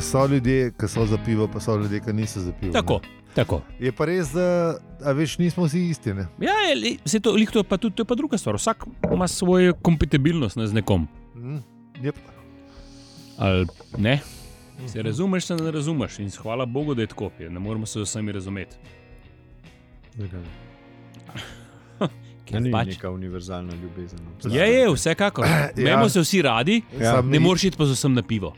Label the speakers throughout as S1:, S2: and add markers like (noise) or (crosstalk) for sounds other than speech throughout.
S1: so ljudje, ki so za pivo, pa so ljudje, ki niso za pivo. ne.
S2: Tako, tako.
S1: Je pa res, da a veš, nismo vsi isti. Ne?
S2: Ja, je, le- saj to, lih to, je pa tudi, to je pa druga stvar. Vsak ima svojo kompatibilnost ne, z nekom.
S1: Mm, yep.
S2: Ali ne? Se razumeš, se ne razumeš. In hvala Bogu, da je tako. je Ne moremo se z vsemi razumeti.
S3: Ja,
S2: Ker
S3: ni
S2: pač-
S3: neka univerzalna ljubezen. no.
S2: Je, je, vsekakor. Imamo ja. se vsi radi,
S3: Ja.
S1: Sam
S2: ne
S1: ni-
S2: moreš iti pa z vsem na pivo.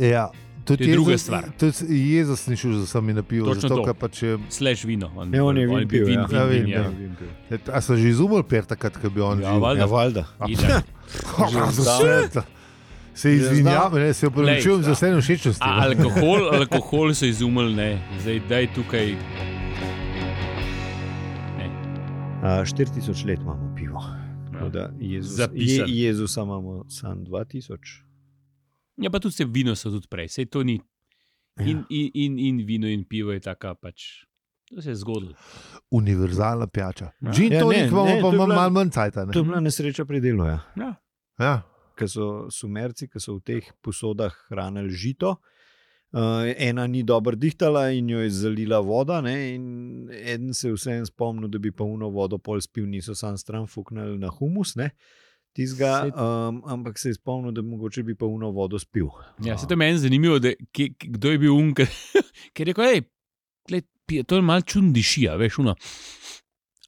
S1: Ja. Tudi
S2: To je druga
S1: jezus-
S2: stvar.
S1: Tudi jezo sem šel za sami napil,
S2: Točno
S1: zato
S2: to.
S1: ker pač je.
S2: Sleš vino. On,
S3: Ne, on je
S2: on
S3: vin pil.
S2: vin,
S3: ja.
S2: vin,
S1: Ja,
S2: vin,
S1: vin,
S2: ja.
S1: ja.
S3: vin pil.
S1: A so že izumrli per takrat, ko bi on
S2: Ja,
S1: živel? (laughs)
S2: valjda.
S4: Ja, valjda.
S3: (laughs)
S2: Itak.
S1: Ja, za vse. to. Se
S3: Že
S1: izvinjam, ne, se upravičujem
S2: Lej,
S1: za vse
S2: ja. A,
S1: všečnosti.
S2: Alkohol, alkohol so izumili, ne. Zdaj, daj tukaj.
S3: A, 4000 let imamo pivo. Tako Ja, da Jezus-
S2: Zapisan.
S3: Je, Jezusa imamo sam 2000.
S2: Ja, pa tudi se vino so tudi prej, sej to ni.
S1: Ja.
S3: Ja.
S2: In, in, in, in vino in pivo je taka pač. To se je zgodilo.
S1: Ja, Univerzalna pijača.
S2: Ja.
S1: Džin
S3: Ja,
S1: to
S3: ne,
S1: nek imamo,
S3: ne,
S1: pa
S3: to je
S1: ima
S3: bila-
S1: malo manj cajta. ne.
S3: To je bila nesreča pri delu. Ja.
S2: Ja.
S1: Ja.
S3: Ker so sumerci, ki so v teh posodah hranili žito. Uh, ena ni dobro dihtala in jo je zalila voda. Ne, in eden se je vseeno spomnil, da bi polno vodo pol spil, niso sam stran fuknili na humus. Ne, tizga,
S2: Saj-
S3: um, ampak se je spomnil, da mogoče bi polno vodo spil.
S2: Ja, se to je meni zanimivo, da, ki, ki- kdo je bil (laughs) unka. Ker je rekel, hej, gled, pije, to je malo čuden dišija, veš, uno.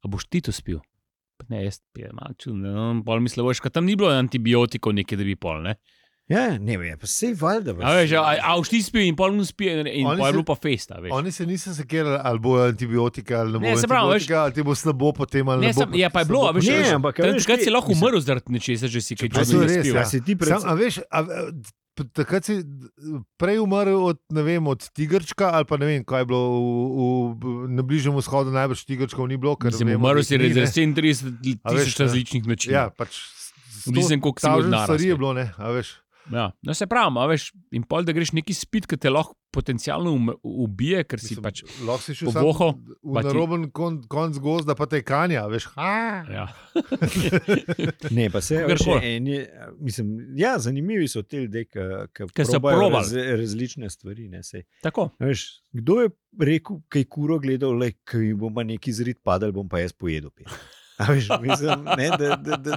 S2: A boš ti to spil? Pa ne, jaz pijem, malo čuden. No, pol mislim, veš, kaj tam ni bilo antibiotikov, nekaj, da bi pol, ne.
S3: Ja, ne vem, pa se je valjda.
S2: A veš, a, a- a boš ti spil in pol mu spil in, in
S1: Oni
S2: pol je
S1: se-
S2: bilo pa festa, veš.
S1: Oni se niso sekirali, ali bo antibiotika, ali ne bo
S2: Ne, se pravi,
S1: antibiotika, ali ti bo slabo potem. ali
S2: Ne,
S1: ne bo
S2: sem, ja, pa je
S1: slabo
S2: bilo, a veš,
S1: potem.
S3: Ne,
S2: veš,
S3: ampak, a
S2: tam
S3: veš,
S2: takrat
S3: ti-
S2: si lahko
S3: mislim-
S2: umrl zaradi nečesa, če si kaj
S1: A
S3: Ja,
S1: to je
S2: čudnega
S1: res,
S2: spil.
S1: ja.
S3: Ja, si ti
S1: Sam,
S3: predstavljaš?
S1: a veš, a, a, p- takrat si d- prej umrl od, ne vem, od tigrčka ali pa ne vem, kaj je bilo v, v, na bližnjem vzhodu, najbrž tigrčkov ni bilo. ker
S2: Mislim,
S1: vemo, da
S2: umrl si
S1: jih ni,
S2: zaradi
S1: ne.
S2: 37
S1: A veš,
S2: tisoč
S1: ja.
S2: različnih načinov.
S1: Ja, pač. s-
S2: Nisem, koliko si
S1: tavžen
S2: od narasli.
S1: stvari je bilo, ne, a veš.
S2: Ja, no se pravi, a veš, in pol, da greš neki spit, ki te lahko potencialno um- ubije, ker si
S1: Mislim,
S2: pač.
S1: Lahko si šel
S2: povohal,
S1: samo
S2: pa
S1: v
S2: ti-
S1: naroben kon, konc gozda, pa te kanja, veš. Ha!
S2: Ja.
S3: Ne, pa se
S2: Kakorkoli.
S3: še eni. Mislim, ja, zanimivi so ti ljudje, ki
S2: Ke so probali.
S3: raz, različne stvari. Ne, saj,
S2: Tako.
S3: a veš, kdo je rekel, kaj kuro gledal, le ki bo pa neki zrit padal, bom pa jaz pojedel. Pet. A veš, mislim, ne, da, da, da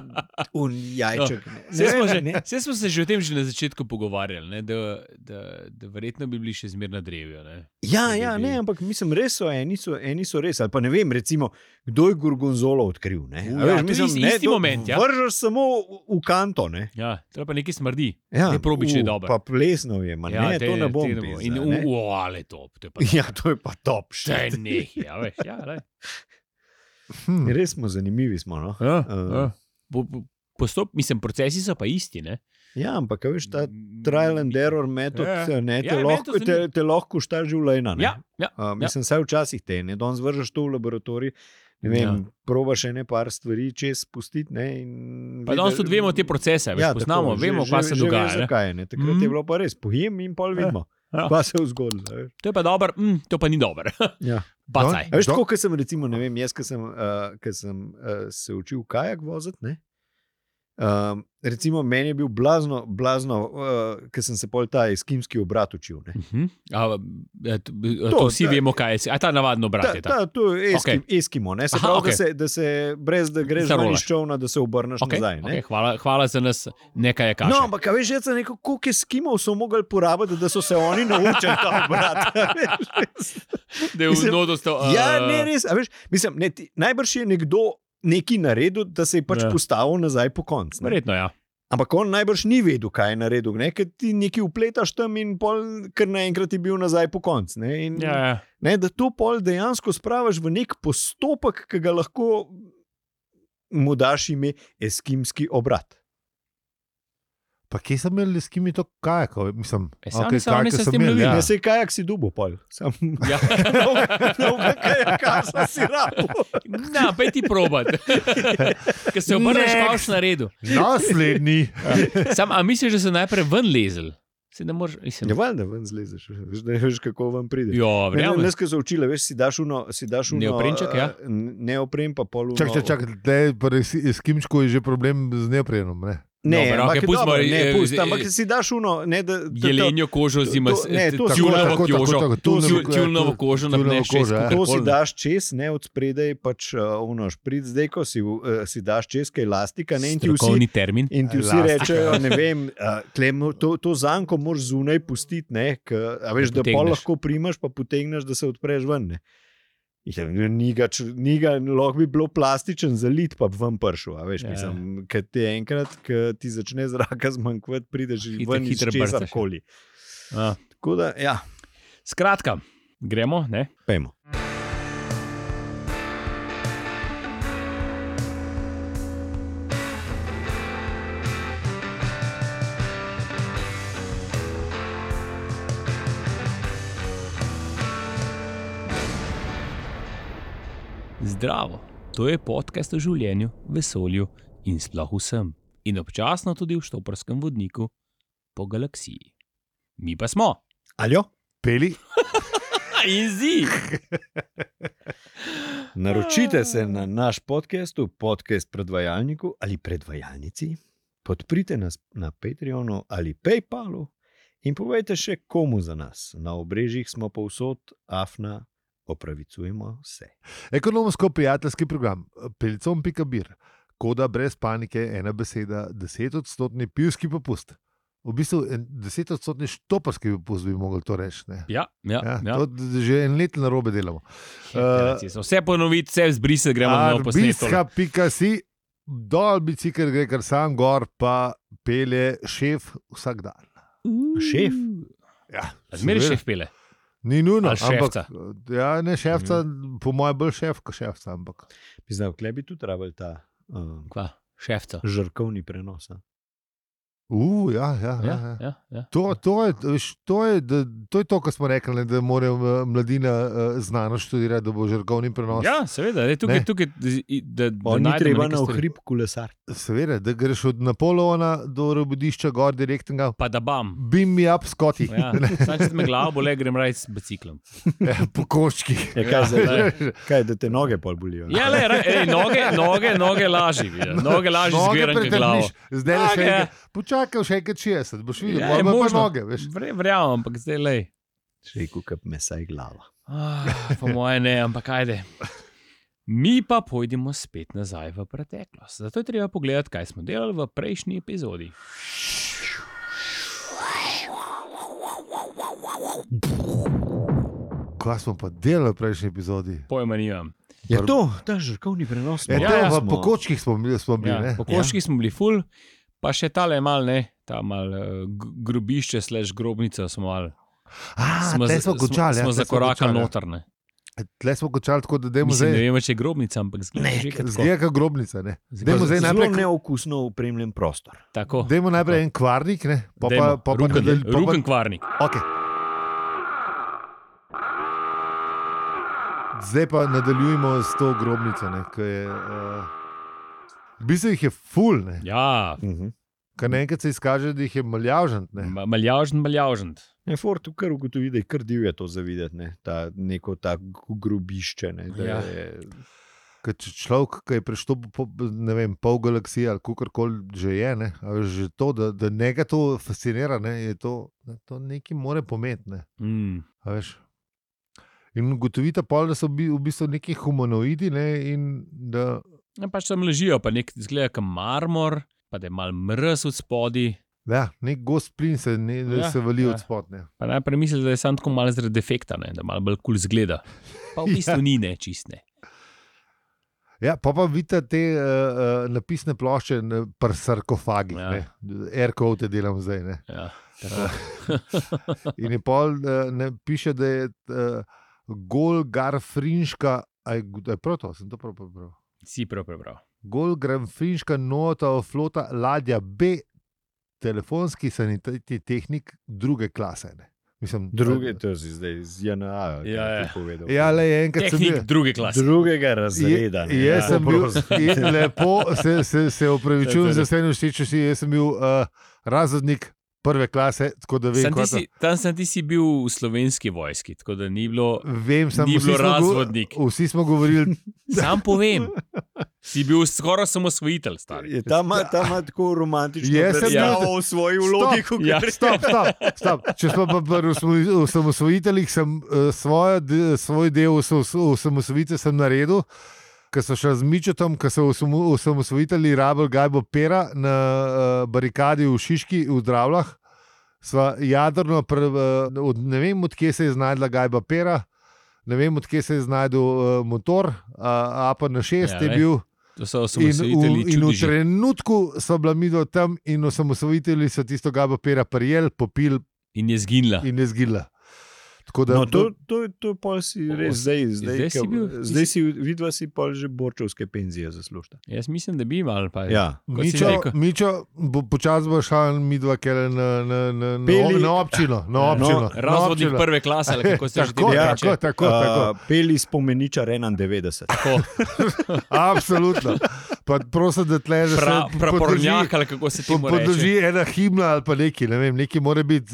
S3: un jajček. Ne,
S2: Vse No, smo,
S3: ne,
S2: že,
S3: ne.
S2: vse smo se že o tem že na začetku pogovarjali, ne, da, da, da verjetno bi bili še zmerno drevju. ne.
S3: Ja, ja, ne, ampak mislim, res so eni, so eni so res. Ali pa ne vem, recimo, kdo je Gorgonzolo odkril. Ne,
S2: U, ja,
S3: A veš,
S2: to je isti- isti
S3: do-
S2: moment, ja.
S3: Vržeš samo v, v kanto. Ne.
S2: Ja, treba pa nekaj smrdi.
S3: Ja,
S2: Ne probiš, če je
S3: u,
S2: dobro.
S3: Pa plesno je, ma, ja, ne,
S2: te-
S3: te, to ne bom.
S2: te
S3: pizda,
S2: In
S3: ne.
S2: uale to. to je
S3: (laughs)
S2: pa
S3: Ja, to je pa top.
S2: Še
S3: shit.
S2: nekaj, ja, veš. Ja, lej.
S1: Hm.
S3: Res smo zanimivi. Smo, no?
S2: (laughs) ja,
S3: ja.
S2: Po, po, postop, mislim, procesi so pa isti. Ne?
S3: Ja, ampak a veš, ta trial and error metod,
S2: Ja.
S3: ja. ne, te,
S2: Ja,
S3: ja,
S2: je
S3: lahko,
S2: metod
S3: te,
S2: zanimiv.
S3: te lahko šta življenja. ne.
S2: Ja, ja,
S3: A, mislim, vsaj včasih te ne, danes vržeš to v laboratorij. Ne vem,
S2: Ja.
S3: ja. probaš še ne par stvari, če spustiti. Ne, in
S2: pa danes tudi vemo te procese, veš, ja,
S3: tako,
S2: poznamo,
S3: že-
S2: vemo,
S3: že-
S2: kaj se
S3: že
S2: dogaja.
S3: veš,
S2: ne.
S3: zakaj je, ne. Takrat mm. je
S2: Mhm.
S3: bilo pa res, pojem in pol vidimo,
S2: Ja.
S3: ja. kaj se je zgodilo. a veš.
S2: To je pa dobro, mm, to pa ni (laughs) dobro.
S3: Ja.
S2: Bacaj.
S3: A Veš,
S1: Do-
S3: tako kot sem, recimo, ne vem, jaz, ki sem, uh, sem uh, se učil kajak voziti. ne, Um, recimo, meni je bil blazno, blazno uh, ker sem se pol ta eskimski obrat učil. Ne.
S2: Mhm. A, a, to, a,
S3: To,
S2: to vsi
S3: ta-
S2: vemo, kaj je. si- A ta navadno brat
S3: Ta,
S2: je ta.
S3: ta, to je eskim,
S2: Okej.
S3: okay. eskimo, ne, se
S2: Aha,
S3: pravi, okay.
S2: okej.
S3: da, se, da se brez da greš ven
S2: Zarolaš.
S3: iz čovna, da se obrneš
S2: Okay,
S3: okay. nazaj.
S2: okay,
S3: Okay.
S2: hvala, hvala za nas, nekaj je kaj.
S3: No, ampak a veš, jaz sem rekel, koliko eskimov so mogli porabiti, da so se oni naučili ta obrat. (laughs) a veš.
S2: da je v e,
S3: mislim,
S2: nodo stal.
S3: Ja, ne, res. a Veš, mislim, ne, ti, najbrž je nekdo nekaj naredil, da se je pač
S2: Ja.
S3: ja. postavil nazaj po koncu. ne.
S2: Verjetno, ja.
S3: Ampak on najbrž ni vedel, kaj je naredil, ne? ker ti nekaj upletaš tam in pol, kar naenkrat je bil nazaj po koncu. Ne? In,
S2: ja, ja.
S3: (laughs) ne, da to pol dejansko spraviš v nek postopek, ki ga lahko mu daš ime eskimski obrat.
S1: Pa kje sem imel, s kim je to kajakov? Mislim,
S2: E, sam
S1: okej,
S2: nisem, oni
S1: kajake
S2: se s
S1: sem
S2: tem
S1: imel,
S2: lovili,
S1: ja.
S3: Ja. Ne se kajak si dubo, pol. Sam, (laughs)
S2: ja. (laughs)
S3: no, kaj sem si rabo. (laughs)
S2: Na, pa ti probat. (laughs) Ker se obrneš,
S1: Next.
S2: pa si na redu.
S1: Ja.
S2: (laughs)
S1: Naslednji.
S2: Sam, a misliš, da so najprej ven lezel? Se ne moreš, mislim.
S3: Ne Ja, valjda ven zlezeš, veš, ne veš, kako vam pride.
S2: Jo,
S3: Ne,
S2: Ja, verjamem.
S3: Danes, ki so učile, veš, si daš uno, si daš uno. eh,
S2: Neoprenček, ja.
S3: Neoprem, pa polu.
S1: Čak, čak, čak, te, s kimčko je že problem z neoprenom. Ne?
S3: Ne,
S2: Dobro,
S3: ampak
S2: okej,
S3: je
S2: pustimo,
S3: dobro,
S2: eh,
S3: ne, pust,
S2: eh,
S3: ampak si daš uno, ne da to- to-
S2: Jelenjo kožo
S3: to-
S2: zima,
S3: to- ne, to smo-
S2: tjulnovo
S1: tako, tako,
S2: kožo,
S1: tako, tjulnovo-
S2: tjul- tjulnovo kožo,
S1: tjulnovo
S2: napneš še
S1: kožo, ja.
S3: To
S2: skupaj.
S3: si daš čez, ne od spredaj, pač uh, uno šprit, zdaj ko si, uh, si daš čez, kaj elastika, ne in ti vsi.
S2: Strokovni termin.
S3: In ti vsi
S1: Elastika.
S3: rečejo, ne vem, uh, klem, to, to zanko moraš zunaj pustiti, ne, k, a veš, da,
S2: Da
S3: da pol
S2: potegneš.
S3: lahko primaš, pa potegneš, da se odpreš ven. Ne. In Ja, niga, niga, lahko bi bilo plastičen zalit, pa bi ven pršel. a Veš,
S2: Ja.
S3: ja. mislim, ker ti enkrat, ki ti začne zraka (laughs) zmanjkati, prideš
S2: Hitro-
S3: ven iz
S2: hitro ja.
S3: česar
S2: brcaš.
S3: koli.
S2: A.
S3: Tako da, ja,
S2: Skratka, gremo, ne?
S3: pejmo.
S2: Zdravo, to je podcast o življenju, vesolju in sploh vsem, in občasno tudi v štoparskem vodniku po galaksiji. Mi pa smo.
S3: Aljo?
S1: Peli,
S2: In zi.
S3: Naročite se na naš podcast, v podcast predvajalniku ali predvajalnici, podprite nas na Patreonu ali PayPalu in povejte še komu za nas. Na obrežjih smo povsod, afna, opravičujemo se.
S1: ekonomsko-prijateljski program, pelicom.bir, koda brez panike, ena beseda, desetodstotni pivski popust. V bistvu en desetodstotni štoparski popust bi mogli to reči. ne.
S2: Ja, ja, ja.
S1: Ja, to d- že en let na robe delamo.
S2: Heteracij so. Vse ponoviti, vse zbrisati, gremo na posnetek.
S1: Arbiska.si, dol bicikl gre kar sam gor, pa pele šef vsak dan.
S3: Šef?
S1: Ja,
S2: Zmeri
S1: seveda.
S2: šef pele.
S1: Ni nujno,
S2: Ali šefca. Mhm.
S1: ampak ja, ne šefca, mm. po mojem, bolj šef kot šefca. Ampak.
S3: Mislim, da bi tu trebali ta um,
S2: Kva, šefca.
S3: žrkovni prenos. a?
S1: Uh, ja, ja, ja,
S2: Ja,
S1: ja.
S2: ja, ja.
S1: To, to, je, veš, to, je, da, to je to, kar smo rekli, ne, da mora eh, mladina eh, znanost študirati, da bo žrgovni prenos.
S2: Ja, seveda, da je tukaj,
S1: Ne.
S2: tukaj da, da
S3: Ni
S2: najdemo
S3: treba
S2: neke
S3: na
S2: stvari.
S3: ohrib kolesar.
S1: Seveda, da greš od Napoleona do robodišča gor direktnega,
S2: Pa da
S1: (laughs)
S2: bam.
S1: bim mi up skoti, (laughs)
S2: Ja, sam če me glavo bole, grem raj s biciklom.
S1: po koščki.
S3: Ja, kaj, (laughs) zdaj,
S2: lej.
S3: kaj, da te noge pol bolijo. ne?
S2: Ja, le, raj, ej, noge, noge, noge lažje.
S1: No,
S2: Noge lažje zbiram kot glavo.
S1: zdaj le še
S2: Noge.
S1: enkrat. Počakaj, še enkrat 60, boš videl,
S2: Ja,
S1: ja,
S2: je
S1: bojo pa
S2: možno.
S1: noge. Veš.
S2: Vre- Verjamem, ampak zdaj le.
S3: Še rekel, kap mesa je glava.
S2: Ah, po moje ne, ampak ajde. Mi pa pojdimo spet nazaj v preteklost. Zato je treba pogledati, kaj smo delali v prejšnji epizodi.
S1: Kaj smo pa delali v prejšnji epizodi?
S2: Pojma nimam.
S3: Je to, ta žrkovni prenos.
S1: E,
S3: no?
S1: to,
S2: Ja,
S1: ja,
S3: smo.
S1: po kočkih smo bili. Smo bili
S2: Ja,
S1: ja,
S2: po koški ja. smo bili ful, pa še tale mal ne, ta mal eh, g- grobišče, slash grobnica smo mal.
S1: A, smo, tle
S2: z-
S1: smo končali.
S2: smo,
S1: ja,
S2: smo
S1: tle
S2: zakorakali
S1: končali,
S2: no.
S1: ja.
S2: notrne.
S1: Tle smo končali tako, da demo
S2: Mislim, ne
S1: zdaj.
S2: vem, če je grobnica, ampak zgleda že kot tako.
S1: Zgleda kot grobnica. ne.
S2: Zgleda
S1: Dajmo zdaj
S3: Zelo
S1: najprej-
S3: neokusno upremljen prostor.
S2: Tako.
S1: Dajmo najprej en kvarnik, ne? pa pa, pa, pa kadel- pa
S2: Ruben Kvarnik.
S1: pa okay. Zdaj pa nadaljujemo s to grobnico. Ne, ki je, uh, v bistvu jih je ful, ne.
S2: Ja,
S3: Mhm.
S1: Ker naenkrat se izkaže, da jih je maljavžen.
S2: ma- maljavžen, maljavžen.
S3: Ne, Ja, Ford tu kar ugotovi, da je kar divje to zavideti, ne? ta, neko tako grobišče. Ne? da
S2: Ja.
S3: Je,
S1: Ker če človek, ki je preštopil po, ne vem, pol galaksije ali kako koli že je, ne, a veš, že to, da, da njega to fascinira, ne, je to, da to nekaj more pomeniti. Ne,
S2: Mm.
S1: a veš. in ugotovite pol, da so bi, v bistvu neki humanoidi ne, in da
S2: Ja, pač tam ležijo, pa nek zgleda kot marmor, pa da je mal mrz od spodaj.
S1: ja, nek gost plin se, ne,
S2: Ja,
S1: ja, se vali
S2: ja.
S1: ja. od spodne.
S2: Pa najprej misliš, da je sam tako malo zaradi defekta, ne? da malo bolj kul cool zgleda.
S1: (laughs)
S2: Pa v bistvu ja. ni ne čistne.
S1: Ja, pa pa vidite te uh, uh, napisne plošče, pa sarkofagi,
S2: Ja.
S1: ja. erkov te delam zdaj. Ne.
S2: Ja, tako.
S1: In je pol, eh, ne, piše, da je uh, gol garfrinška, da je prav to, sem to prav prebral.
S2: si prav prebral.
S1: Gol garfrinška nota o flota ladja B, telefonski sanitetni tehnik druge klase. Ne. Mislim,
S3: druge, to si zdaj z JNA
S2: Ja, ja.
S3: ja, povedal.
S1: Ja, le enkrat sem
S2: Tehnik
S1: bil.
S2: druge klase.
S3: Drugega razreda. ne,
S1: Je- Jaz sem bil,
S3: prosim.
S1: in lepo se, se, se
S2: To je
S1: opravičujem
S2: to.
S1: za vse noštiče, jaz sem bil uh, razrednik prve klase, tako da vem,
S2: Sam ti
S1: kaj
S2: si, tam sem ti si bil v slovenski vojski, tako da ni
S1: (laughs)
S2: bilo.
S1: Vem, sem
S2: Ni bilo razvodnik.
S1: Vsi smo govorili,
S2: Sam povem, si bil skoraj samo svojitelj, stari.
S3: Je ta ima ta ima tako romantično,
S1: Jaz sem
S3: da je
S1: bil-
S3: v svoji vlogi, kot
S2: Ja.
S3: je
S1: stop, stop, stop. Če smo pa pri osmo- osamosvojiteljih, sem uh, svojo, de- svoj del oso- oso- osamosvojitve sem naredil. Ko so šli z Mičetom, ko so osamo- osamosvojitelji rabili Gajbo Pera na uh, barikadi v Šiški, v Dravljah, sva jadrno, pre, uh, od, ne vem, odkje se je znašla Gajba Pera, ne vem, odkje se je znašel uh, motor, uh, a pa na šest
S2: Ja,
S1: ja, je
S2: glej.
S1: bil.
S2: To so
S1: In v,
S2: osamosvojitelji.
S1: in v
S2: čudeži.
S1: trenutku so bila mi do tam, in osamosvojitelji so tisto gabo pera prijel, popil
S2: In je zginila.
S1: in je zgila. Tako da
S3: No, to, to, to pol si
S2: O,
S3: res zdaj, zdaj,
S2: zdaj
S3: zdaj,
S2: si
S3: si,
S2: bil-
S3: zdaj si, vidva si pol že borčevske penzije zaslužila.
S2: Jaz mislim, da bi imel.
S3: Ja.
S2: kot si
S1: Mičo,
S2: rekel.
S1: Mičo bo počasi bo šel, mi dva, ker na, na, na, na,
S3: Peli.
S1: na občino. Na
S2: Ja.
S1: občino
S3: No,
S1: na
S2: Razvodnik
S1: občino.
S2: prve klase, ali
S1: (laughs)
S2: kako se že
S1: tako,
S2: temu
S3: ja,
S2: reče.
S1: tako, tako, tako.
S3: Uh, peli spomeniča 91.
S1: (laughs)
S2: Tako,
S1: Ja, Absolutno. Pa prosim, da tle že
S2: Pra, prapornjak, ali kako se temu reče.
S1: Podloži ena himna ali pa nekaj, ne vem, nekaj mora biti.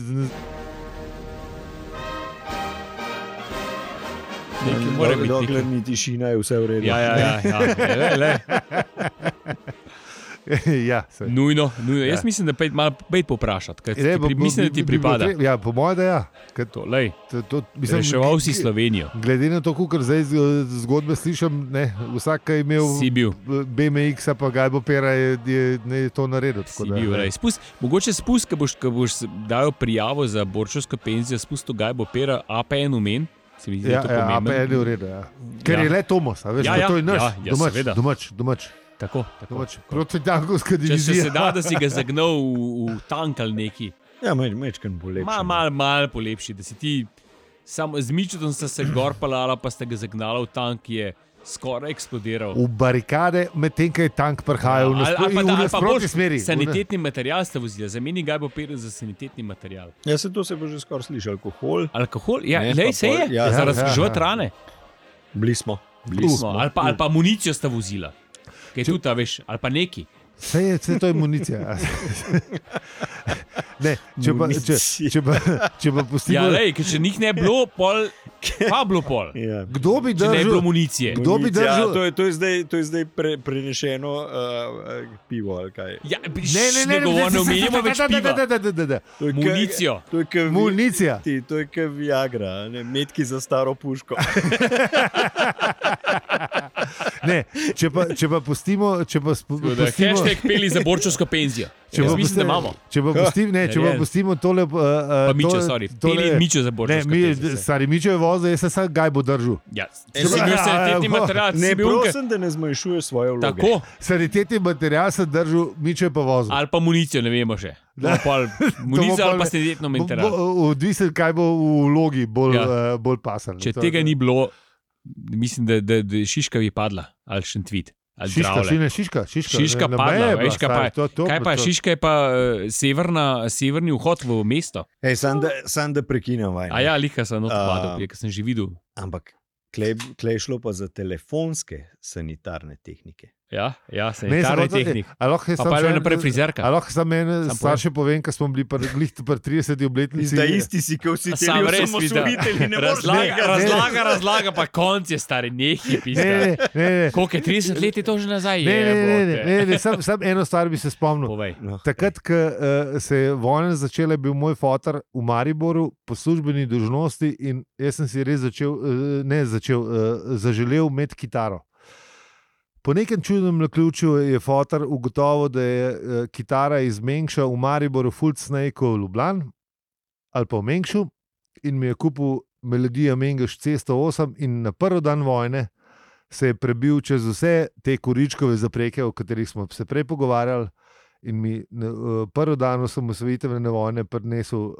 S2: Nekaj mora biti. nekaj.
S3: Mm, Dokler ni tišina, je vse v redu.
S2: Ja, ja, ja, ja. Le,
S1: (laughs)
S2: le.
S1: (laughs) ja, se.
S2: Nujno, nujno. Jaz
S1: Ja.
S2: mislim, da pej malo pejt poprašati, kaj ti
S1: Ne, bo-
S2: pri-
S1: bo-
S2: mislim, da
S1: bi-
S2: ti
S1: bi bilo
S2: pripada.
S1: treba- Ja, po mojem, da ja. Ker
S2: To, lej,
S1: To, to, mislim,
S2: reševal si Slovenijo,
S1: Glede na to, kako zdaj z- zgodbe slišim, ne, vsak je imel
S2: si bil.
S1: BMX, pa Gajbo Pera je, je ne, to naredil. tako
S2: Si
S1: da, ja.
S2: bil rej. spust, mogoče spust, ki boš, ko boš dal prijavo za borčevsko penzijo, spust to gaj bo pera, APN umen. Se mi zdi,
S1: Ja,
S2: da je to
S1: ja,
S2: pomembno.
S1: APL je v redu. Ja. Ker
S2: Ja.
S1: ja. je le Tomos, a veš,
S2: Ja,
S1: ja,
S2: ja,
S1: to je naš,
S2: ja, ja,
S1: domač,
S2: seveda.
S1: domač, domač,
S2: Tako, tako.
S1: domač. protitankowska
S2: Če
S1: (laughs)
S2: se,
S1: divizija.
S2: se da, da si ga zagnal v, v tank ali neki,
S3: ja meč, mečken bo lepši.
S2: malo mal, mal polepši, da si ti samo z mičetom sta se gor palala, pa sta ga zagnala v tank, ki je skoraj eksplodiral.
S1: V barikade, medtem ko je tank prihajal
S2: Ali-
S1: ja,
S2: ali pa
S1: v
S2: da- ali pa
S1: nasprotni
S2: boš
S1: smeri.
S2: Sanitetni material ste vozili, zameni ga bo pil za sanitetni material.
S3: Ja, se to se bo že skoraj slišal. Alkohol,
S2: Alkohol, ja,
S3: Ne,
S2: lej,
S3: pa
S2: se
S3: pol-
S2: je, ja,
S3: ja,
S2: za
S1: ja,
S2: razkrižati
S1: ja, ja.
S2: rane.
S3: bili smo. Bili
S2: Uh,
S3: smo.
S2: ali, pa, ali pa municijo sta vozila, ki je tudi ta veš, ali pa neki.
S1: Vse je, vse to je
S2: (laughs)
S1: municija. ja. ne, če pa, če,
S3: Municija.
S1: če pa, če pa pustimo.
S2: Ja, lej, ker če njih ne bi bilo, pol, pa bi bilo
S1: (laughs)
S2: pol.
S3: Ja.
S1: Kdo bi
S2: Če ne bi bilo
S1: držal?
S2: municije.
S1: Kdo bi držal?
S3: Ja, to, je, to, je zdaj, to je zdaj pre, prenešeno uh, uh, pivo. ali kaj.
S2: Ja, bi-
S1: Ne, ne, ne,
S2: ne, govor, ne, omenjamo več
S1: da, da,
S2: piva.
S1: da, da, da, da, da.
S3: To je ke-
S2: Municijo.
S3: To je kot
S1: Municija.
S3: Ti, to je kot Viagra, a ne, metki za staro puško.
S1: Ne, če pa, če pa pustimo, če pa spu-
S2: Tako da,
S1: pustimo,
S2: Hashtag peli za borčovsko penzijo.
S1: če pa
S2: Jaz mislim, da
S1: pusti-
S2: imamo.
S1: Če pa pustimo, ne, če pa
S2: Narejen.
S1: pustimo tole, uh, uh,
S2: Pa mičo, sorry. Peli mičo za
S1: Ne,
S2: borčovsko
S1: mi,
S2: penzijo. se.
S1: stari mičo je vozil, jaz sem sam gaj bo držal.
S2: Ja,
S3: Ne,
S2: če si bil
S1: ja, (laughs)
S2: sanitetni
S1: ja,
S2: material, (laughs) si
S3: Ne,
S2: bil unke.
S3: prosim, da ne zmanjšuje svoje vloge.
S2: Tako,
S1: Sanitetni material sem držal, mičo je pa vozil.
S2: ali pa municijo, ne vemo še.
S1: Da.
S2: Pol,
S1: (laughs) To bo
S2: municija
S1: pol
S2: ali pa
S1: ne-
S2: sanitetno
S1: Bo-
S2: material.
S1: bo- Odvisen, kaj bo v vlogi bolj,
S2: Ja.
S1: uh, bolj pasen.
S2: Če
S1: To-
S2: tega ni bilo, mislim, da, da, da je Šiška bi padla ali še tvit.
S1: Šiška, šine, šiška, šiška,
S2: Šiška
S1: na
S2: padla,
S1: meje je
S2: veš,
S1: bila,
S2: kaj pa
S1: stari,
S2: je-
S1: to- to-
S2: Kaj pa je
S1: to-
S2: Šiška, je pa eh, severna, severni vhod v mesto.
S3: Ej, sam da, sam da prekinem vaj.
S2: A ja, liha sem
S3: A.
S2: odpadel, ker sem že videl.
S3: Ampak klej kle je šlo pa za telefonske sanitarne tehnike.
S2: Ja, ja
S1: Ne, samo
S2: sanitarni
S1: to-
S2: tehnik.
S1: A lahko jaz
S2: Pa
S1: samo
S2: pa je
S1: še en-
S2: naprej frizerka.
S1: A lahko samo en
S2: Samo
S1: starše povem, ko smo bili pri glih- pri 30. obletnici.
S3: si, kot si
S2: Sam res videl.
S1: ne.
S2: Razlaga, razlaga, razlaga, pa konc je star, nehi
S1: Ne,
S2: pisa.
S1: ne, ne,
S2: Koliko je 30 let je to že
S1: ne,
S2: nazaj?
S1: ne, ne, ne,
S2: jebote.
S1: ne, ne samo sam eno stvar bi se spomnil.
S2: Povej.
S3: No,
S1: Takrat, ko uh, se je vojna začela, je bil moj fotor v Mariboru po službeni dožnosti in jaz sem si res začel, uh, ne začel, uh, zaželel imeti kitaro. Po nekem čudnem naključju je fotor ugotovil, da je uh, kitara iz Mengša v Mariboru, Fulcnejko v Ljubljani ali pa v Mengšu in mi je kupil melodijo Mengš 108 in na prvi dan vojne se je prebil čez vse te kuričkove zapreke, o katerih smo se prej pogovarjali. In mi na eh, prvi dan osamosvojitvene vojne prinesel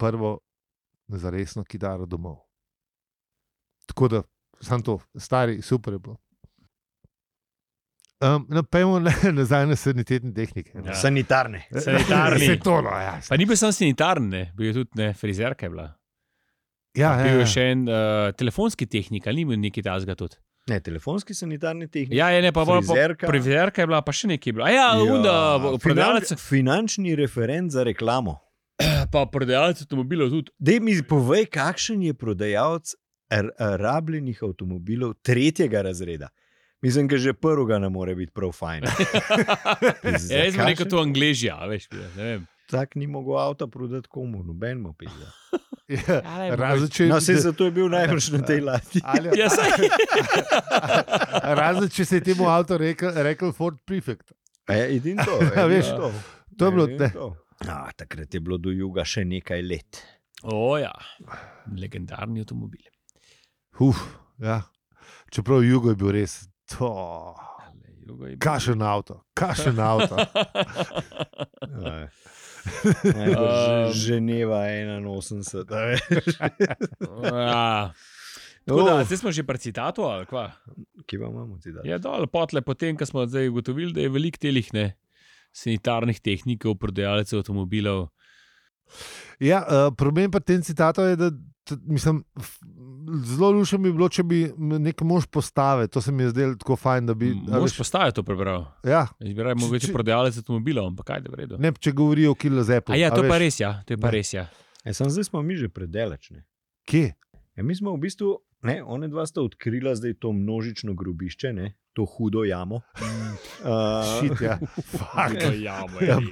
S1: prvo zaresno kitaro domov. Tako da, samo to, stari, super je bilo. Um, no, Pejmo na- (laughs) nazaj na sanitetne tehnike.
S2: Ja.
S3: Sanitarne.
S2: sanitarni.
S1: (laughs) Se to, no, ja.
S2: Pa ni bil samo sanitarni, ne, bil je tudi ne, frizerka je bila.
S1: Ja,
S2: Bil
S1: ja,
S2: je
S1: ja.
S2: eh, še en uh, telefonski tehnik, ali ni bil neki tasga tudi.
S3: Ne, telefonski sanitarni tehnik.
S2: Ja, je ne, pa bolj
S3: Frizerka.
S2: Previzerka je bila, pa še nekaj je bilo. A ja, ja unda, prodajalec,
S3: finančni referent za reklamo.
S2: pa prodajalec avtomobilov tudi.
S3: Dej mi povej, kakšen je prodajalec r- rabljenih avtomobilov tretjega razreda. Mislim, da že prvega ne more biti prav
S2: (laughs)
S3: fajn. Pizda,
S2: Ja, jaz sem rekel
S3: kakšen-
S2: to angližija, veš, ne vem.
S3: Tak ni mogel avta prodati komu, noben mu pisa.
S1: Ja,
S2: Ja,
S1: razen če-
S3: No, se zato je bil najbrž na (laughs) tej ladji.
S1: ali-
S2: (laughs) Ja, saj.
S1: (laughs) Razen če se je temu avtu rekel, rekel Ford Prefect.
S3: E, edin (laughs) to,
S1: Ja,
S3: edin
S1: veš,
S3: to.
S1: to je bilo-
S3: Edin
S1: ne.
S3: to. A, takrat je bilo do juga še nekaj let.
S2: O ja, legendarni avtomobil.
S1: Uf, ja. Čeprav jugo je bil res to. Kašen avto, kašen avto.
S3: (laughs) Ja. Ehm. Najbrž
S2: Um.
S3: Ženeva 81. a veš.
S2: Ja. Tako
S1: Oh.
S2: da, Zdaj smo že pri citatu, ali kva?
S3: Kje pa imamo ti dati?
S2: Je dol, potle, potem, ko smo zdaj ugotovili, da je veliko telih ne, sanitarnih tehnikov, prodajalcev avtomobilov.
S1: Ja, uh, problem pa tem citatu je, da t- mislim, f- zelo lušno bi bilo, če bi m- nek mož postave, to se mi je zdelo tako fajn, da bi. a
S2: Mož postaje to prebral.
S1: ja,
S2: Jaz bi raje
S1: Če-
S2: mogoče
S1: če-
S2: prodajalec avtomobilov, ampak kaj da v redu.
S1: ne, če govorijo o Kilu Zepu.
S2: A ja, to
S1: a
S2: je pa
S1: veš.
S2: res, ja, to je pa
S1: Ne.
S2: res, ja.
S3: E, sam zdaj smo mi že predelačni.
S1: Kje?
S3: Ja, mi smo v bistvu, ne, one dva sta odkrila zdaj to množično grobišče, ne, to hudo jamo. (laughs) Uh,
S1: Šit, ja. Fuck. Ja,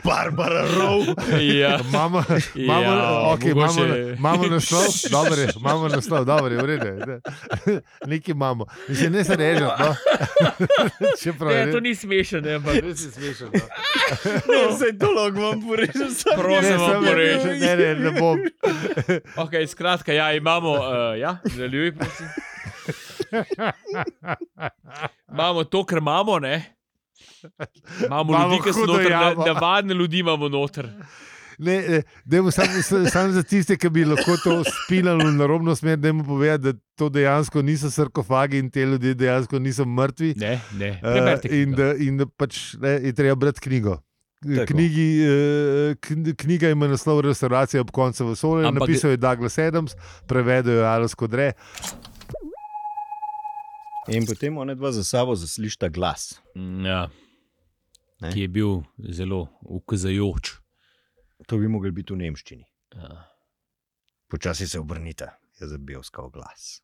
S3: Barbara Rov.
S2: Ja.
S1: Imamo, imamo,
S2: Ja,
S1: ja, okay, imamo,
S2: mogoče-
S1: imamo naslov, dobro je, imamo naslov, dobro je, v redu. je, ne. Nekaj imamo, mislim, ne se reže. No. (laughs) Čeprav je
S2: Ne, to ni smešno, ne, ampak
S1: res je smešno. No.
S3: Ne, zdaj to lahko vam porežem. sam
S2: Prosim,
S3: jaz.
S1: Ne,
S2: se vam
S1: samo
S2: poreže.
S1: ne, ne, ne bom.
S2: Okay, skratka, ja, imamo, uh, ja, nadaljuj, prosim. Imamo to, kar imamo, ne? Imamo,
S1: Imamo
S2: imamo ljudi, ki so
S1: hudo
S2: noter, na-
S1: jamo.
S2: navadne ljudi imamo noter.
S1: Ne, ne, dajmo samo s- samo za tiste, ki bi lahko to spilali v narobno smer, da jim povedati, da to dejansko niso sarkofagi in te ljudje dejansko niso mrtvi.
S2: Ne, ne.
S1: Eh,
S2: Preberite.
S1: in,
S2: knjigo.
S1: da, in da pač ne, je treba brati knjigo.
S3: Tako.
S1: Knjigi, eh, kn- knjiga ima naslov Restauracija ob koncu vesolja,
S2: Ampak-
S1: napisal je Douglas Adams, prevedel jo je Alas Kodre.
S3: In potem one dva za sabo zaslišta glas.
S2: Ja.
S3: Ne?
S2: Ki je bil zelo ukazajoč. Eh,
S3: To bi mogli biti v nemščini.
S2: Ja.
S3: Počasi se obrnite, jaz bi oskal glas.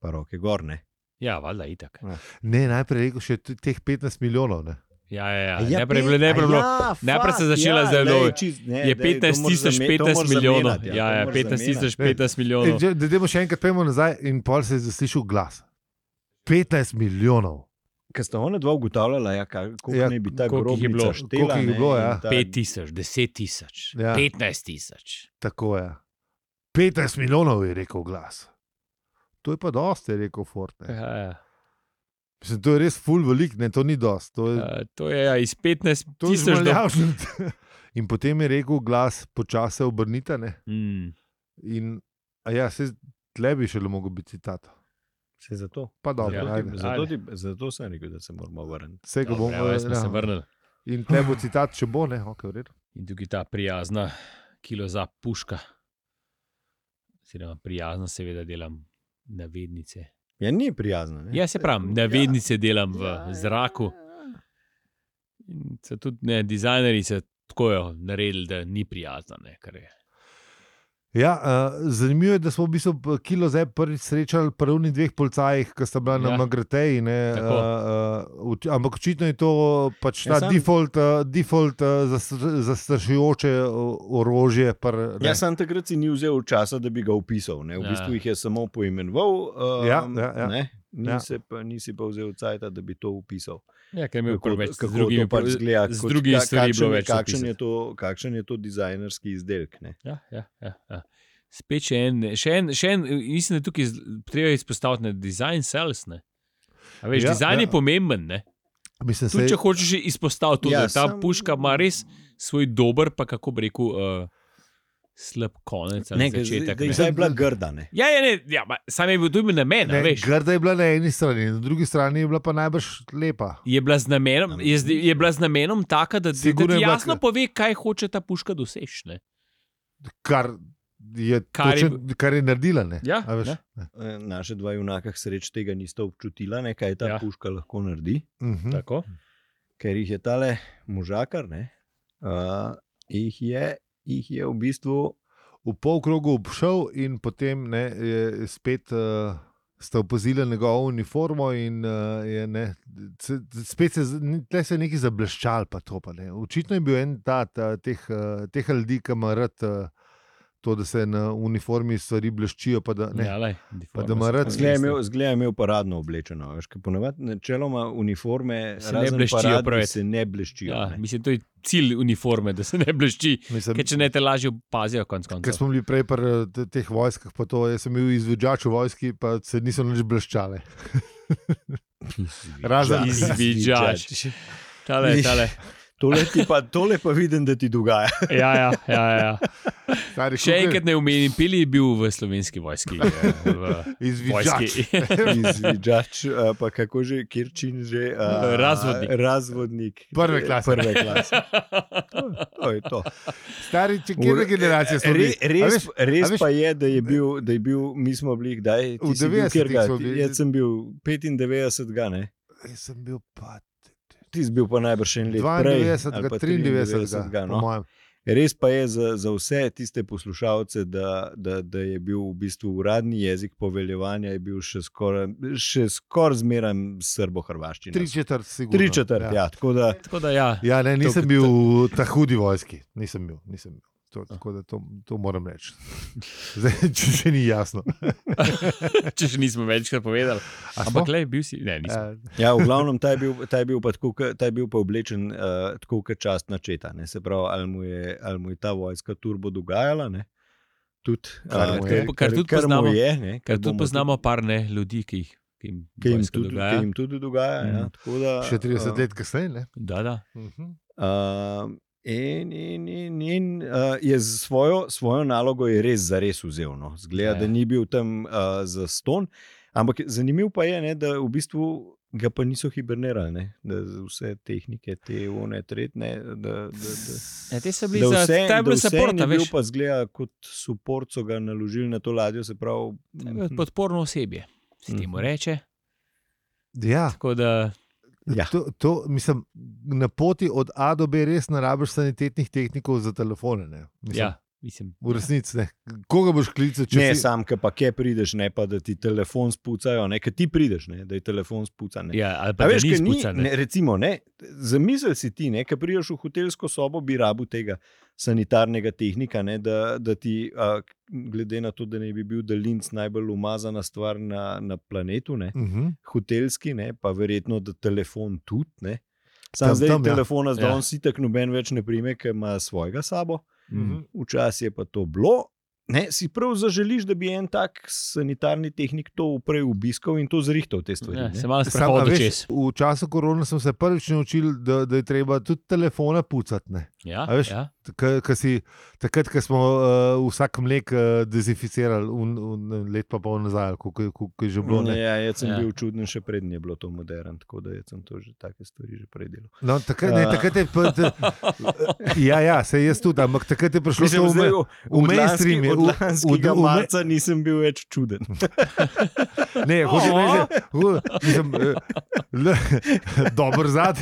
S3: Pa roke gor, ne.
S2: Ja, valjda, itak.
S1: Ne, najprej je rekel še t- teh 15 milijonov. Ne.
S2: Ja, ja, ja.
S3: Ja,
S2: ja najprej je
S3: pet-
S2: bilo, najprej je
S3: a
S2: bilo.
S3: ja,
S2: najprej
S3: fak,
S2: se je začela
S3: ja,
S2: zdaj
S3: lej,
S2: nove.
S3: čist- ne,
S2: Je
S3: dej, to
S2: 15
S3: moraš
S2: tisoč,
S3: zame- to
S2: 15
S3: moraš
S2: milijonov.
S3: zamenjati,
S2: Ja, ja,
S3: to moraš
S2: 15 tisoč,
S3: zamenjati.
S2: 15
S1: E,
S2: milijonov.
S1: če- Da demo še enkrat pojmo nazaj in pol se je zaslišal glas. 15 milijonov.
S3: Ker sta ona dva ugotavljala, ja, ka- koliko
S1: Ja,
S3: ja, naj bi ta
S2: koliko jih je bilo?
S3: grobnica štela.
S1: Koliko jih je
S3: ne,
S1: bilo,
S3: in
S1: ja.
S3: ta-
S2: 5 tisoč, 10 tisoč,
S1: Ja.
S2: 15 tisoč.
S1: Tako je. 15 milijonov je rekel glas. To je pa dosti, je rekel Ford. ne.
S2: Ja, ja.
S1: Mislim, to je res full velik, ne, to ni dosti. To je,
S2: Eh, To je ja, iz 15
S1: to je
S2: tisoč do
S1: zmaljavšen. (laughs) In potem je rekel glas, počasi se obrnite. Ne.
S2: Mm.
S1: In a ja, se tle bi še le mogel biti citat.
S3: Se zato.
S1: Pa dobro,
S2: Ja.
S1: ja,
S3: Zato,
S1: ajde.
S3: ti, zato, ti, zato sem rekel, da se moramo vrniti.
S1: Vse ga
S2: Dobro,
S1: bomo
S2: evo, jaz smo se
S1: ja.
S2: vrnili.
S1: In tle bo citat, če bo, ne, ok, v redu.
S2: In tukaj ta prijazna kilo za puška. Oziroma, prijazno, seveda, delam navednice.
S3: Ja, ni prijazna. Ne?
S2: Ja, se pravi, navednice delam
S3: Ja,
S2: v zraku. In so tudi ne, dizajnerji so tako jo naredili, da ni prijazna. Ne, kar je.
S1: Ja, uh, zanimivo je, da smo v bistvu p- Kilo zdaj prvič srečali pri prvih dveh policajih, ki sta bila na
S2: Ja.
S1: ja. Magrateji. ne,
S2: Tako.
S1: Uh, uh, ampak očitno je to pač
S3: Ja,
S1: ta ja,
S3: sam-
S1: default, uh, default uh, zastr- zastrašujoče uh, orožje. Pr,
S3: Ja, sam takrat si ni vzel časa, da bi ga opisal. Ne? V
S2: Ja.
S3: ja. bistvu jih je samo poimenoval. Um,
S1: Ja, ja, ja.
S3: Ne? Ni
S1: Ja.
S3: se Pa, nisi pa vzel cajt, da bi to opisal.
S2: Ja, ker je imel
S3: Kako,
S2: preveč
S3: kako
S2: z drugimi
S3: to pač
S2: pro-
S3: zgleda,
S2: z
S3: kot
S2: drugimi
S3: ka-
S2: stvarmi je bilo
S3: kakšen-
S2: več
S3: Kakšen je,
S2: opisati.
S3: to, kakšen je to dizajnerski izdelek? Ne?
S2: Ja, ja, ja, ja. Spet še en, še en, še en, mislim, da je tukaj z- treba izpostaviti, da je design sales. Ne? A Veš,
S1: Ja,
S2: ja, dizajn ja.
S1: ja.
S2: je pomemben. Ne?
S1: mislim,
S2: Tudi,
S1: saj-
S2: če hočeš izpostaviti, to,
S3: Ja,
S2: ja, da ta
S3: sem-
S2: sem... puška ima res svoj dober, pa kako bi rekel, uh, slab konec ali
S3: ker zdaj-
S2: začetek.
S3: da je
S2: Ne.
S3: zdaj (laughs) bila grda. Ne?
S2: Ja, ja, ne, ja, ma, sam je bil tu na meni,
S1: Ne,
S2: veš.
S1: grda je bila na eni strani, na drugi strani je bila pa najbrž lepa.
S2: Je bila z namenom, je, z- je bila z namenom taka, da, da
S1: Sigurno
S2: ti
S1: je bila
S2: jasno
S1: k-
S2: pove, kaj hoče ta puška doseči. ne.
S1: Kar je
S2: Kar je-
S1: točno, kar je naredila. Ne?
S2: Ja,
S1: A veš?
S2: ne.
S3: Eh, Naše dva junaka sreč tega nista občutila, ne, kaj ta
S2: Ja.
S3: ja. puška lahko naredi,
S1: Mhm.
S2: Tako.
S3: ker jih je tale možakar, ne, uh, jih, je, jih je v bistvu
S1: v polkrogu obšel in potem ne, je spet. Uh, Ste opazili njegovo uniformo, in uh, je, ne, c, spet se, z- ni- tule se je nekaj zableščal. Pa to, pa, ne. Očitno je bil en ta, ta teh, uh, teh ljudi, ki ima rad uh, to, da se na uniformi stvari bleščijo. Pa da, ne,
S2: Ja, lej,
S1: Pa da ima rad-
S3: Pač Zgleda je imel- Zgleda je imel paradno oblečeno. Veš, ker ponavadi načeloma uniforme
S2: Se ne
S3: razen
S2: bleščijo
S3: paradnih
S2: preveč.
S3: Se ne bleščijo.
S2: Ja,
S3: ne.
S2: mislim, to je cilj uniforme, da se ne blešči.
S1: mislim,
S2: Ker če ne te lažje opazijo, konc koncev.
S1: Ker smo bili prej pri eh, te- teh vojskah, pa to, jaz sem bil izvedžač v vojski, pa se niso nič bleščale. Razen-
S2: Izvidžač.
S3: (laughs)
S2: Tale,
S3: Vidiš.
S2: tale.
S3: Tole, ti pa, tole pa vidim, da ti dogaja.
S2: Ja, ja, ja,
S3: (laughs)
S2: ja.
S1: Stari,
S2: Še
S1: koliko je
S2: enkrat ne omenim, pili je bil v slovenski vojski. eh, V
S1: Izvidžač.
S2: vojski. (laughs)
S3: Izvidžač, a pa kako že, kirčin že. a,
S2: Razvodnik.
S3: Razvodnik.
S1: Prve klase.
S3: Prve klase. To, to je to.
S1: Stari, če kje generacije smo
S3: Re,
S1: bili? A
S3: res
S1: veš,
S3: res
S1: a veš-
S3: pa je, da je bil, da je bil mi smo bili, kdaj?
S1: V 90-ih smo bili.
S3: bili. Jaz sem bil 95, ga, ne?
S1: Jaz sem bil pa
S3: Ti si bil pa no. najbrž en let prej.
S1: 92,
S3: ali pa
S1: 93, ga,
S3: no.
S1: po mojem.
S3: Res pa je za, za vse tiste poslušalce, da, da, da je bil v bistvu uradni jezik poveljevanja je bil še skoraj še skor zmeren srbo-hrvaščina.
S1: Tri četrt, sigurno.
S3: Tri četrt, ja. ja. Tako da
S2: Tako da ja.
S1: Ja, ne, nisem
S3: To-
S1: bil v ta hudi vojski, nisem bil. Nisem bil. To, tako da to, to moram
S3: (laughs)
S1: reči. Zdaj, če še ni jasno.
S3: Ja.
S2: Če še nismo večkrat povedali.
S1: A smo?
S2: Ampak le, bil si. Ne, nisem.
S1: Ja,
S3: Ja, v glavnem, ta je bil, ta je bil, pa, tako, ke- ta je bil pa oblečen uh, tako kot čast načeta. Ne? Se pravi, ali mu, je, ali mu je ta vojska turbo dogajala. Ne? eh, Tud,
S1: Kar mu je.
S2: Kar tudi poznamo.
S3: je, ne,
S2: Ker
S3: bomo
S2: tudi poznamo par ne ljudi, ki jih ki jim
S3: ki jim
S2: vojska
S3: tudi dogaja. Jim tudi dogaja
S2: Mhm.
S3: ja, tako da,
S1: Še 30
S3: eh,
S1: let kasneje. ne?
S2: Da, da.
S1: Mhm.
S3: Um, in in, in, in uh, je z svojo, svojo nalogo je res zares vzel. No. Zgleda,
S2: Ja.
S3: ja. da ni bil tam uh, za ston. Ampak zanimivo pa je, ne, da v bistvu ga pa niso hibernirali, ne, da z- vse tehnike, te one, tretne. Da, da, da.
S2: Ja, te so bili
S3: Da
S2: za
S3: vse,
S2: ta je
S3: da
S2: bila
S3: vse
S2: saporta,
S3: je bil
S2: veš.
S3: pa zgleda kot suport, so ga naložili na to ladjo, se pravi.
S2: To je bilo eh, Podporno osebje, se temu
S3: Mhm. Ah.
S2: reče.
S1: Ja,
S2: Tako da
S3: Ja.
S1: To, to, mislim, na poti od A do B res ne rabiš sanitetnih tehnikov za telefone. Ne? Mislim,
S2: Ja, mislim.
S1: V resnici ne. Koga boš klical, če
S3: Ne,
S1: si-
S3: sam, ki pa kje prideš, ne pa da ti telefon spucajo, ne, ker ti prideš, ne, da je telefon spucan. ne.
S2: Ja, ali pa
S3: Pa veš,
S2: veš,
S3: ker
S2: ni
S3: ni,
S2: spucan.
S3: ne, recimo, ne, zamisel si ti, ne, ki priješ v hotelsko sobo, bi rabu tega sanitarnega tehnika, ne, da, da ti, a, glede na to, da ne bi bil Daljinc najbolj umazana stvar na, na planetu, ne,
S1: Mhm.
S3: hotelski, ne, pa verjetno, da telefon tudi. Ne.
S1: Tam,
S3: Sam zdaj
S1: tam,
S3: tam,
S1: ja.
S3: telefona, ja. zdaj
S2: Ja.
S3: on si tako noben več ne prime, ker ima svojega sabo.
S1: Mhm.
S3: Včasih je pa to bilo. Ne, si prav zaželiš, da bi en tak sanitarni tehnik to prej obiskal in to zrihtal te stvari.
S2: Ja,
S3: ne.
S2: se malo
S1: Sam, a
S2: sprehodil
S1: veš,
S2: čez.
S1: v času korona sem se prvič naučil, da, da je treba tudi telefona pucati. ne.
S2: Ja,
S1: a veš,
S2: ja.
S1: K- k si- Takrat, ko smo uh, vsak mlek uh, dezinficirali, un, un, let pa pol nazaj, kako je že bilo. Ne?
S3: Ja, jaz sem
S2: Ja.
S3: ja. bil čuden, še prednje je bilo to modern, tako da jaz sem to že take stvari že prej delal.
S1: No, takrat, ne,
S3: Ja.
S1: takrat je pa, da, (laughs) ja, ja, se jaz tudi, ampak takrat je prišlo to vme- v mainstream je, v- v-
S3: v
S1: v-
S3: marca nisem bil več čuden.
S1: (laughs) Ne,
S3: Oh.
S1: hočeš
S2: O.
S1: reči, hu- mislim, eh, le- (laughs) dober zad.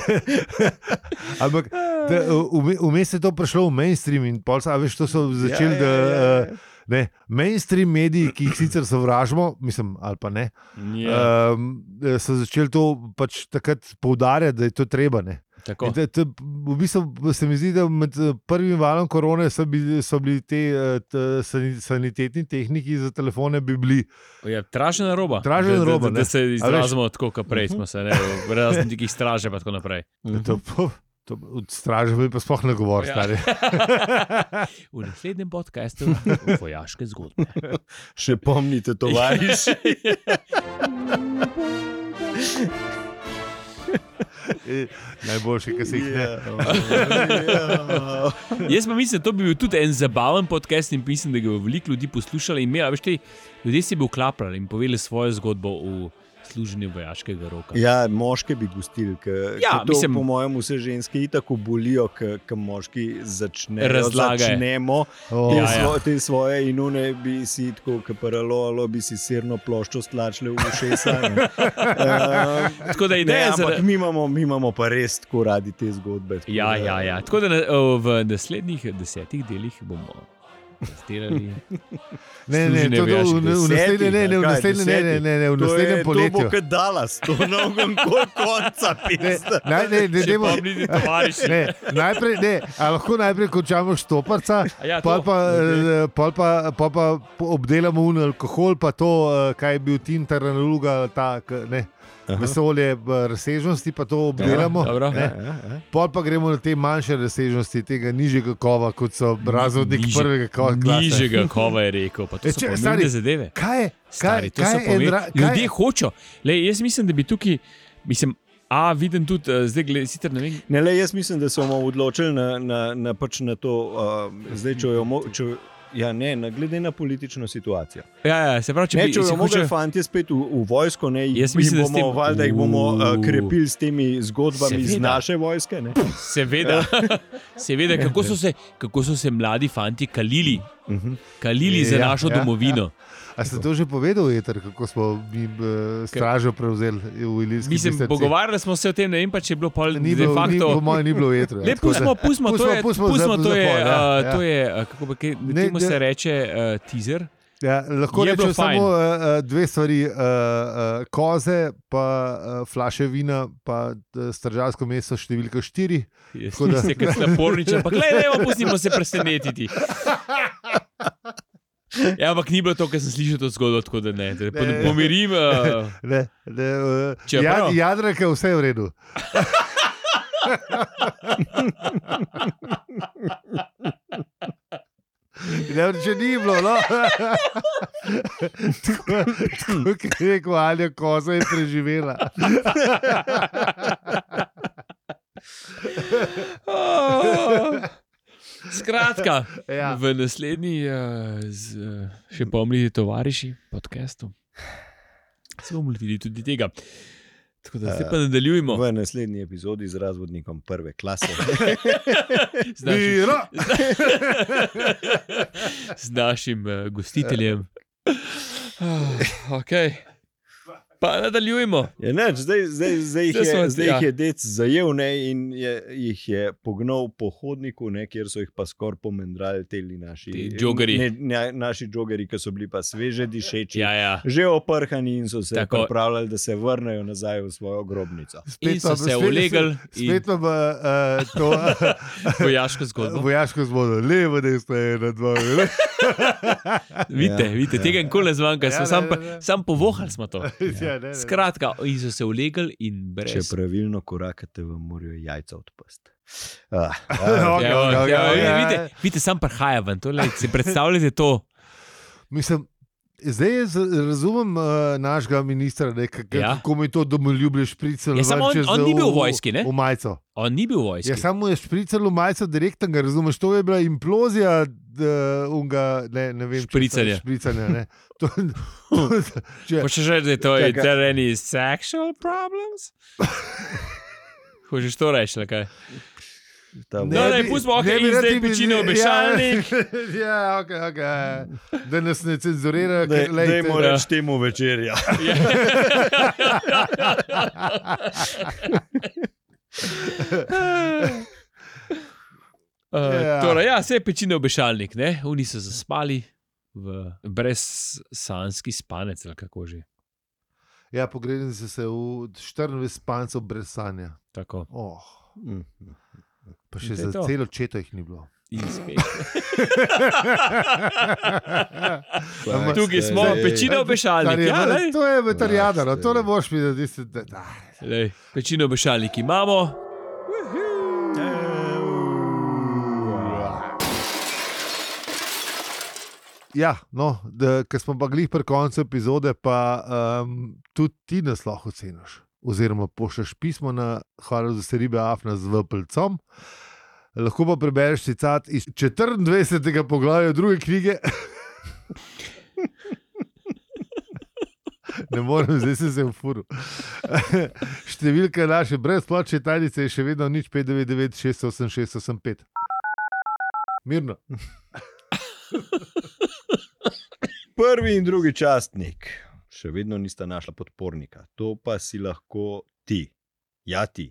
S1: Ampak da, eh, vme- vmes je to prišlo v mainstream in pol, a veš, to so začeli.
S3: Ja,
S1: da,
S3: ja, ja,
S1: eh, Ne, mainstream mediji, ki jih sicer sovražimo, mislim, ali pa ne,
S2: Ja,
S1: yeah. um, so začeli to pač takrat poudarjati, da je to treba. Ne.
S2: tako.
S1: In da- da V bistvu se mi zdi, da med eh, prvim valom korone so bili, so bili te eh, t- sani- sanitetni tehniki za telefone, bi bili
S2: Ja, Tražena roba.
S1: Tražena
S2: Da- da-
S1: roba,
S2: Da,
S1: ne.
S2: da se izrazimo tako, kot prej smo se, ne, v raznih nekih straže in tako naprej.
S1: Da
S3: Mhm.
S1: To, po- to, od straže bi pa sploh ne govoril,
S2: Ja.
S3: (laughs)
S1: stari.
S2: V naslednjem podkastu (laughs) vojaške zgodbe.
S3: Še pomnite, tovariš. (laughs)
S1: Najboljši, ki se jih ne. (laughs)
S3: Ja.
S2: Jaz pa mislim, da to bi bil tudi en zabaven podcast in mislim, da ga bo veliko ljudi poslušalo. In imela, veš, te, ljudje si bi uklapljali in povedali svojo zgodbo v služenje vojaškega roka.
S3: Ja, moške bi gostili, ker
S2: Ja,
S3: ja, to,
S2: mislim-
S3: mislim, po mojem, vse ženske tako bolijo, ker moški začne,
S2: Razlagaj.
S3: začnemo
S1: Oh,
S3: te,
S2: Ja,
S3: ja,
S2: ja.
S3: svo, te svoje inune, bi si tako, kot paralolo, bi si sirno ploščo stlačili v ušesa.
S2: (laughs)
S3: ne. Eh,
S2: Tako da
S3: Ne,
S2: ideja za.
S3: ampak mi imamo, mi imamo pa res tako radi te zgodbe. tako
S2: Ja,
S3: da-
S2: ja, ja. Tako da na, o, v naslednjih desetih delih bomo testirali.
S1: ne, ne,
S2: služenje
S1: to, to, v, v
S2: vojaškega-
S1: naslednje, ne, ne, v
S3: Kaj,
S1: naslednjem, ne, ne, ne, ne, v
S3: To
S1: naslednjem
S3: je- To
S1: poletju.
S3: bo kot Dallas, to ne bom nikoli konca. (laughs)
S1: Ne,
S3: pizda.
S1: naj- ne, ne,
S2: Če
S1: dajmo-
S2: pa bili tovariši.
S1: ne, najprej, ne, a lahko najprej končamo štoparca,
S2: A Ja,
S1: pol
S2: to.
S1: pa, eh, pol pa, pol pa po- obdelamo un alkohol, pa to, eh, kaj je bil Tim Taranuga, ta, k- ne,
S3: Aha.
S1: vesolje eh, razsežnosti, pa to obdelamo.
S2: dobro.
S1: ne.
S3: Ja, ja, ja.
S1: Pol pa gremo na te manjše razsežnosti, tega nižjega kova, kot so razvodnik
S2: Niže-
S1: prvega kova. klase.
S2: Nižjega kova je rekel, pa to
S1: E,
S2: so
S1: če-
S2: pomembne
S1: stari,
S2: zadeve.
S1: Kaj je? Kaj,
S2: Stari, to so
S1: kaj je en
S2: pomembne.
S1: ra- kaj-
S2: Ljudje hočejo. Lej, Jaz mislim, da bi tukaj, mislim, a vidim tudi, eh, zdaj gled, sicer ne vem,
S3: Ne, le, jaz mislim, da se bomo odločili na, na, na, pač na to, uh, zdaj, če jo mo- če, ja, ne, na, glede na politično situacijo.
S2: ja, ja, se pravi, če
S3: Ne,
S2: bi
S3: če
S2: si
S3: jo
S2: hočejo-
S3: mogli fanti spet v, v vojsko, ne, jih,
S2: Jaz mislim, da
S3: jih
S2: s
S3: bomo,
S2: tem-
S3: valjda, jih bomo uh,
S2: Uuu.
S3: krepili s temi zgodbami Seveda. iz
S2: Seveda.
S3: naše vojske. Ne?
S2: Seveda,
S3: Ja.
S2: (laughs) seveda kako, so se, kako so se mladi fanti kalili,
S3: Uh -huh.
S2: kalili za
S1: Ja,
S2: našo
S1: ja,
S2: domovino.
S1: A ste to že povedali, Eter, kako smo mi eh, stražo prevzeli v Ilirski
S2: Mislim,
S1: Bistrici?
S2: pogovarjali smo se o tem, ne vem pa, če je bilo pol
S1: Ni
S2: de
S1: bilo, ni, po
S2: facto.
S1: mojem, ni bilo v etru.
S2: Ne, pustimo, pustimo, to
S1: Pustimo-
S2: je,
S1: Ja, pustimo za-
S2: pustimo, to
S1: za
S2: je,
S1: pol, ja,
S2: uh,
S1: ja.
S2: to je, uh, kako pa kaj-
S1: Ne,
S2: temu
S1: ne.
S2: se reče uh, teaser.
S1: Ja, lahko
S2: Je bilo
S1: rečem
S2: fajn.
S1: samo uh, dve stvari. Uh, uh, koze, pa uh, flaše vina, pa uh, stržavsko meso številka štiri.
S2: Jaz
S1: Tako da-
S2: Se kot naporniče, ampak le, ne, pustimo se presenetiti. Ja, ampak ni bilo to, kar sem slišal to zgodbo, tako da ne, da
S1: Ne.
S2: ne. pomirim.
S1: (laughs)
S2: Uh,
S1: Ne, ne, uh,
S2: Čeprav-
S1: jad, jadranka, vse je v redu. (laughs) Ne, če ni bilo, no. (laughs) tako, tako kot je rekel, ali koza je preživela.
S2: Oh. Skratka, ja.
S1: Ja.
S2: v naslednji, eh, z, eh, še pomnite, tovariši podcastu. Se bomo lotili tudi tega. Tako da zdaj pa
S1: Eh,
S2: nadaljujemo
S3: V naslednji epizodi z razvodnikom prve klase.
S2: (laughs) z našim,
S1: Miro!
S2: (laughs) z našim uh, gostiteljem. Oh, okay. Pa nadaljujemo.
S3: Ja, neč, zdaj, zdaj, zdaj, jih
S2: Zdaj smo-
S3: je, zdaj
S2: ja.
S3: jih je dec zajel ne, in je, jih je pognal po hodniku, ne, kjer so jih pa skoraj pomendrali ti naši
S2: Ti džogerji.
S3: Ne, ne, naši džogeri, ki so bili pa sveže dišeči.
S2: Ja, ja.
S3: Že oprhani in so se
S2: Tako.
S3: Tako. pripravljali, da se vrnejo nazaj v svojo grobnico.
S2: In so
S1: pa-
S2: se ulegli in
S1: Spet pa uh,
S2: (laughs)
S1: to
S2: vojaško zgodbo.
S1: (laughs) vojaško zgodbo, levo, desno, ena, dva.
S2: (laughs)
S1: ne.
S2: Vidite,
S3: Ja,
S2: vidite,
S3: ja.
S2: tega nikoli ne zmanjka,
S1: Ja,
S2: ja,
S1: ne,
S2: sam,
S1: ne,
S2: pa-
S1: ne.
S2: sam povohali smo to.
S1: Ja, ne, ne.
S2: Skratka, in so se ulegli in brez.
S3: Če pravilno korakate, vam morajo jajca odpust. Ah,
S1: No,
S3: ah,
S1: okej,
S2: Ja,
S1: okej,
S2: ja,
S1: okej,
S2: ja,
S1: okej.
S2: vidite, vidite, sam prihaja ven, tole, si predstavljate to.
S1: Mislim, zdaj jaz razumem uh, našega ministra, ne, kako,
S2: Ja.
S1: ja. kako mu je to domoljubje špricalo.
S2: Ja, samo on-
S1: ven čez,
S2: on ni
S1: uh,
S2: bil v
S1: v-
S2: vojski, ne?
S1: V majico.
S2: On ni bil v vojski.
S1: Ja, samo je špricalo v majico direktno, ga razumeš, to je bila implozija. Uh, unga, ne, ne vem, če-
S2: Špricanja.
S1: špricanja ne. To,
S2: (laughs)
S1: to, če,
S2: Hočeš reči, da je to je
S1: Ja. Čakaj.
S2: there any sexual
S1: (laughs)
S2: problems? Hočeš to reči, ali kaj?
S3: ta
S2: No,
S3: vojna-
S2: ne, pustimo, okej, in zdaj pečine v mešalnik.
S1: Ja, (laughs) ja okay, okay. da nas ne cenzurira,
S3: Daj-
S1: ker, lej,
S3: dajmo
S1: to-
S3: reči temu
S1: (laughs)
S3: večerja.
S2: Ja. Uh,
S1: Ja.
S2: Eh, torej, ja, vse je pečine v bešalnik, ne? Oni so zaspali v brezsanski spanec, ali kako že.
S1: Ja, pogledaj si se v 24 spancov brez sanja.
S2: Tako.
S1: Oh,
S3: Mhm.
S1: pa še
S2: In to je
S1: za
S2: to.
S1: to. celo četo jih ni
S2: (laughs)
S1: bilo.
S2: In spet.
S1: Ampak-
S2: Tukaj smo,
S1: Zdaj-
S2: pečino obešalnik.
S1: Kar je
S2: Ja,
S1: vr-
S2: lej.
S1: to je veterijada, no,
S3: Ja,
S1: to ne
S3: stari.
S1: boš videl. tisti, da- da.
S2: Lej, pečino obešalnik imamo.
S1: Ja, no, da- ker smo pa glih pri koncu epizode, pa um, tudi ti nas lahko oceniš. Oziroma, pošlješ pismo na hvala za seribe Afna z Vplcom. Lahko pa prebereš citat iz 24. poglavja druge knjige. (laughs) ne morem, zdaj sem se ufuril. (laughs) Številka naše brezplačne tajnice je še vedno nič 599-68685. Mirno.
S3: Prvi in drugi častnik, še vedno nista našla podpornika, to pa si lahko ti, ja ti.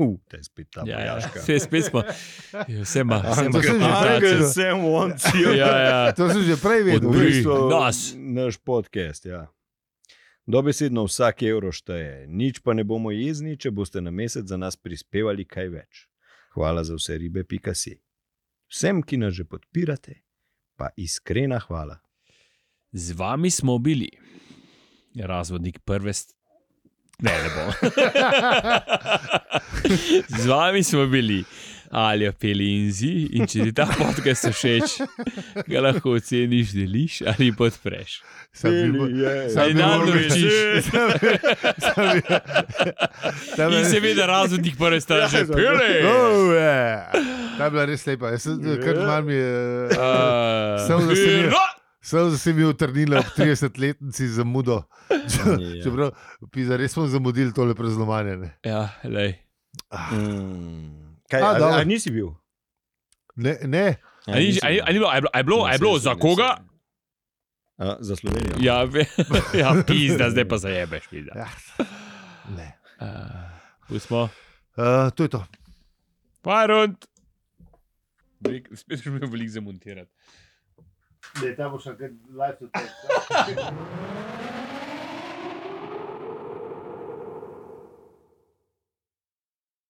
S3: Uf, uh, te je spet ta
S2: Ja, ja,
S3: vojaška.
S2: vse spet smo. Ja, Vse ima, vse ima.
S1: Ampak sem že
S3: Angel,
S2: konotacijo.
S3: sem oncijo.
S2: Ja, ja.
S1: To sem že prej vedel.
S2: Odbri.
S1: veš.
S2: Nas.
S3: naš podcast. Ja. Dobesedno vsak evro šteje, nič pa ne bomo jezni, če boste na mesec za nas prispevali kaj več. Hvala za vse ribe, pika si. Vsem, ki nas že podpirate, pa iskrena hvala.
S2: Z vami smo bili razvodnik prve. St... Ne, ne bom. Z vami smo bili ali peli in zi. In če ti ta podcast všeč, ga lahko oceniš, deliš ali podpreš.
S1: Sam bi mo-
S3: je.
S1: sam bi
S2: Fernando
S1: moral- (laughs)
S2: Večič.
S1: Sam bi- sam bi- Tam je-
S2: In seveda razvodnik prve
S3: Ja, No.
S2: starše.
S3: zato.
S2: Pele!
S1: Oh, ja. Ta je bila res lepa. Jaz sem
S3: Ja.
S1: kar malo mi je.
S2: Ah.
S1: Samo da se ne- Sam sem bil utrnil ob 30-letnici zamudo.
S3: Ja.
S1: Čeprav, pizda, res smo zamudili tole prezlomanje. Ne,
S2: Ja, lej.
S3: Mm. Kaj,
S1: A,
S3: a,
S1: dobro.
S3: a, a nisi bil?
S1: ne, ne.
S2: A ni- a ni- a ni bilo- a je bilo- a je bilo- a je bilo za koga?
S3: A, za Slovenijo.
S2: Ja, ve- (laughs) ja, pizda, zdaj pa se jebeš. pizda.
S1: Ja, ne.
S2: Ah, Pustimo.
S1: Uh, to je to.
S2: Parod. Spet smo imeli veliko zamontirati.
S1: Ne, ta boš še kaj live.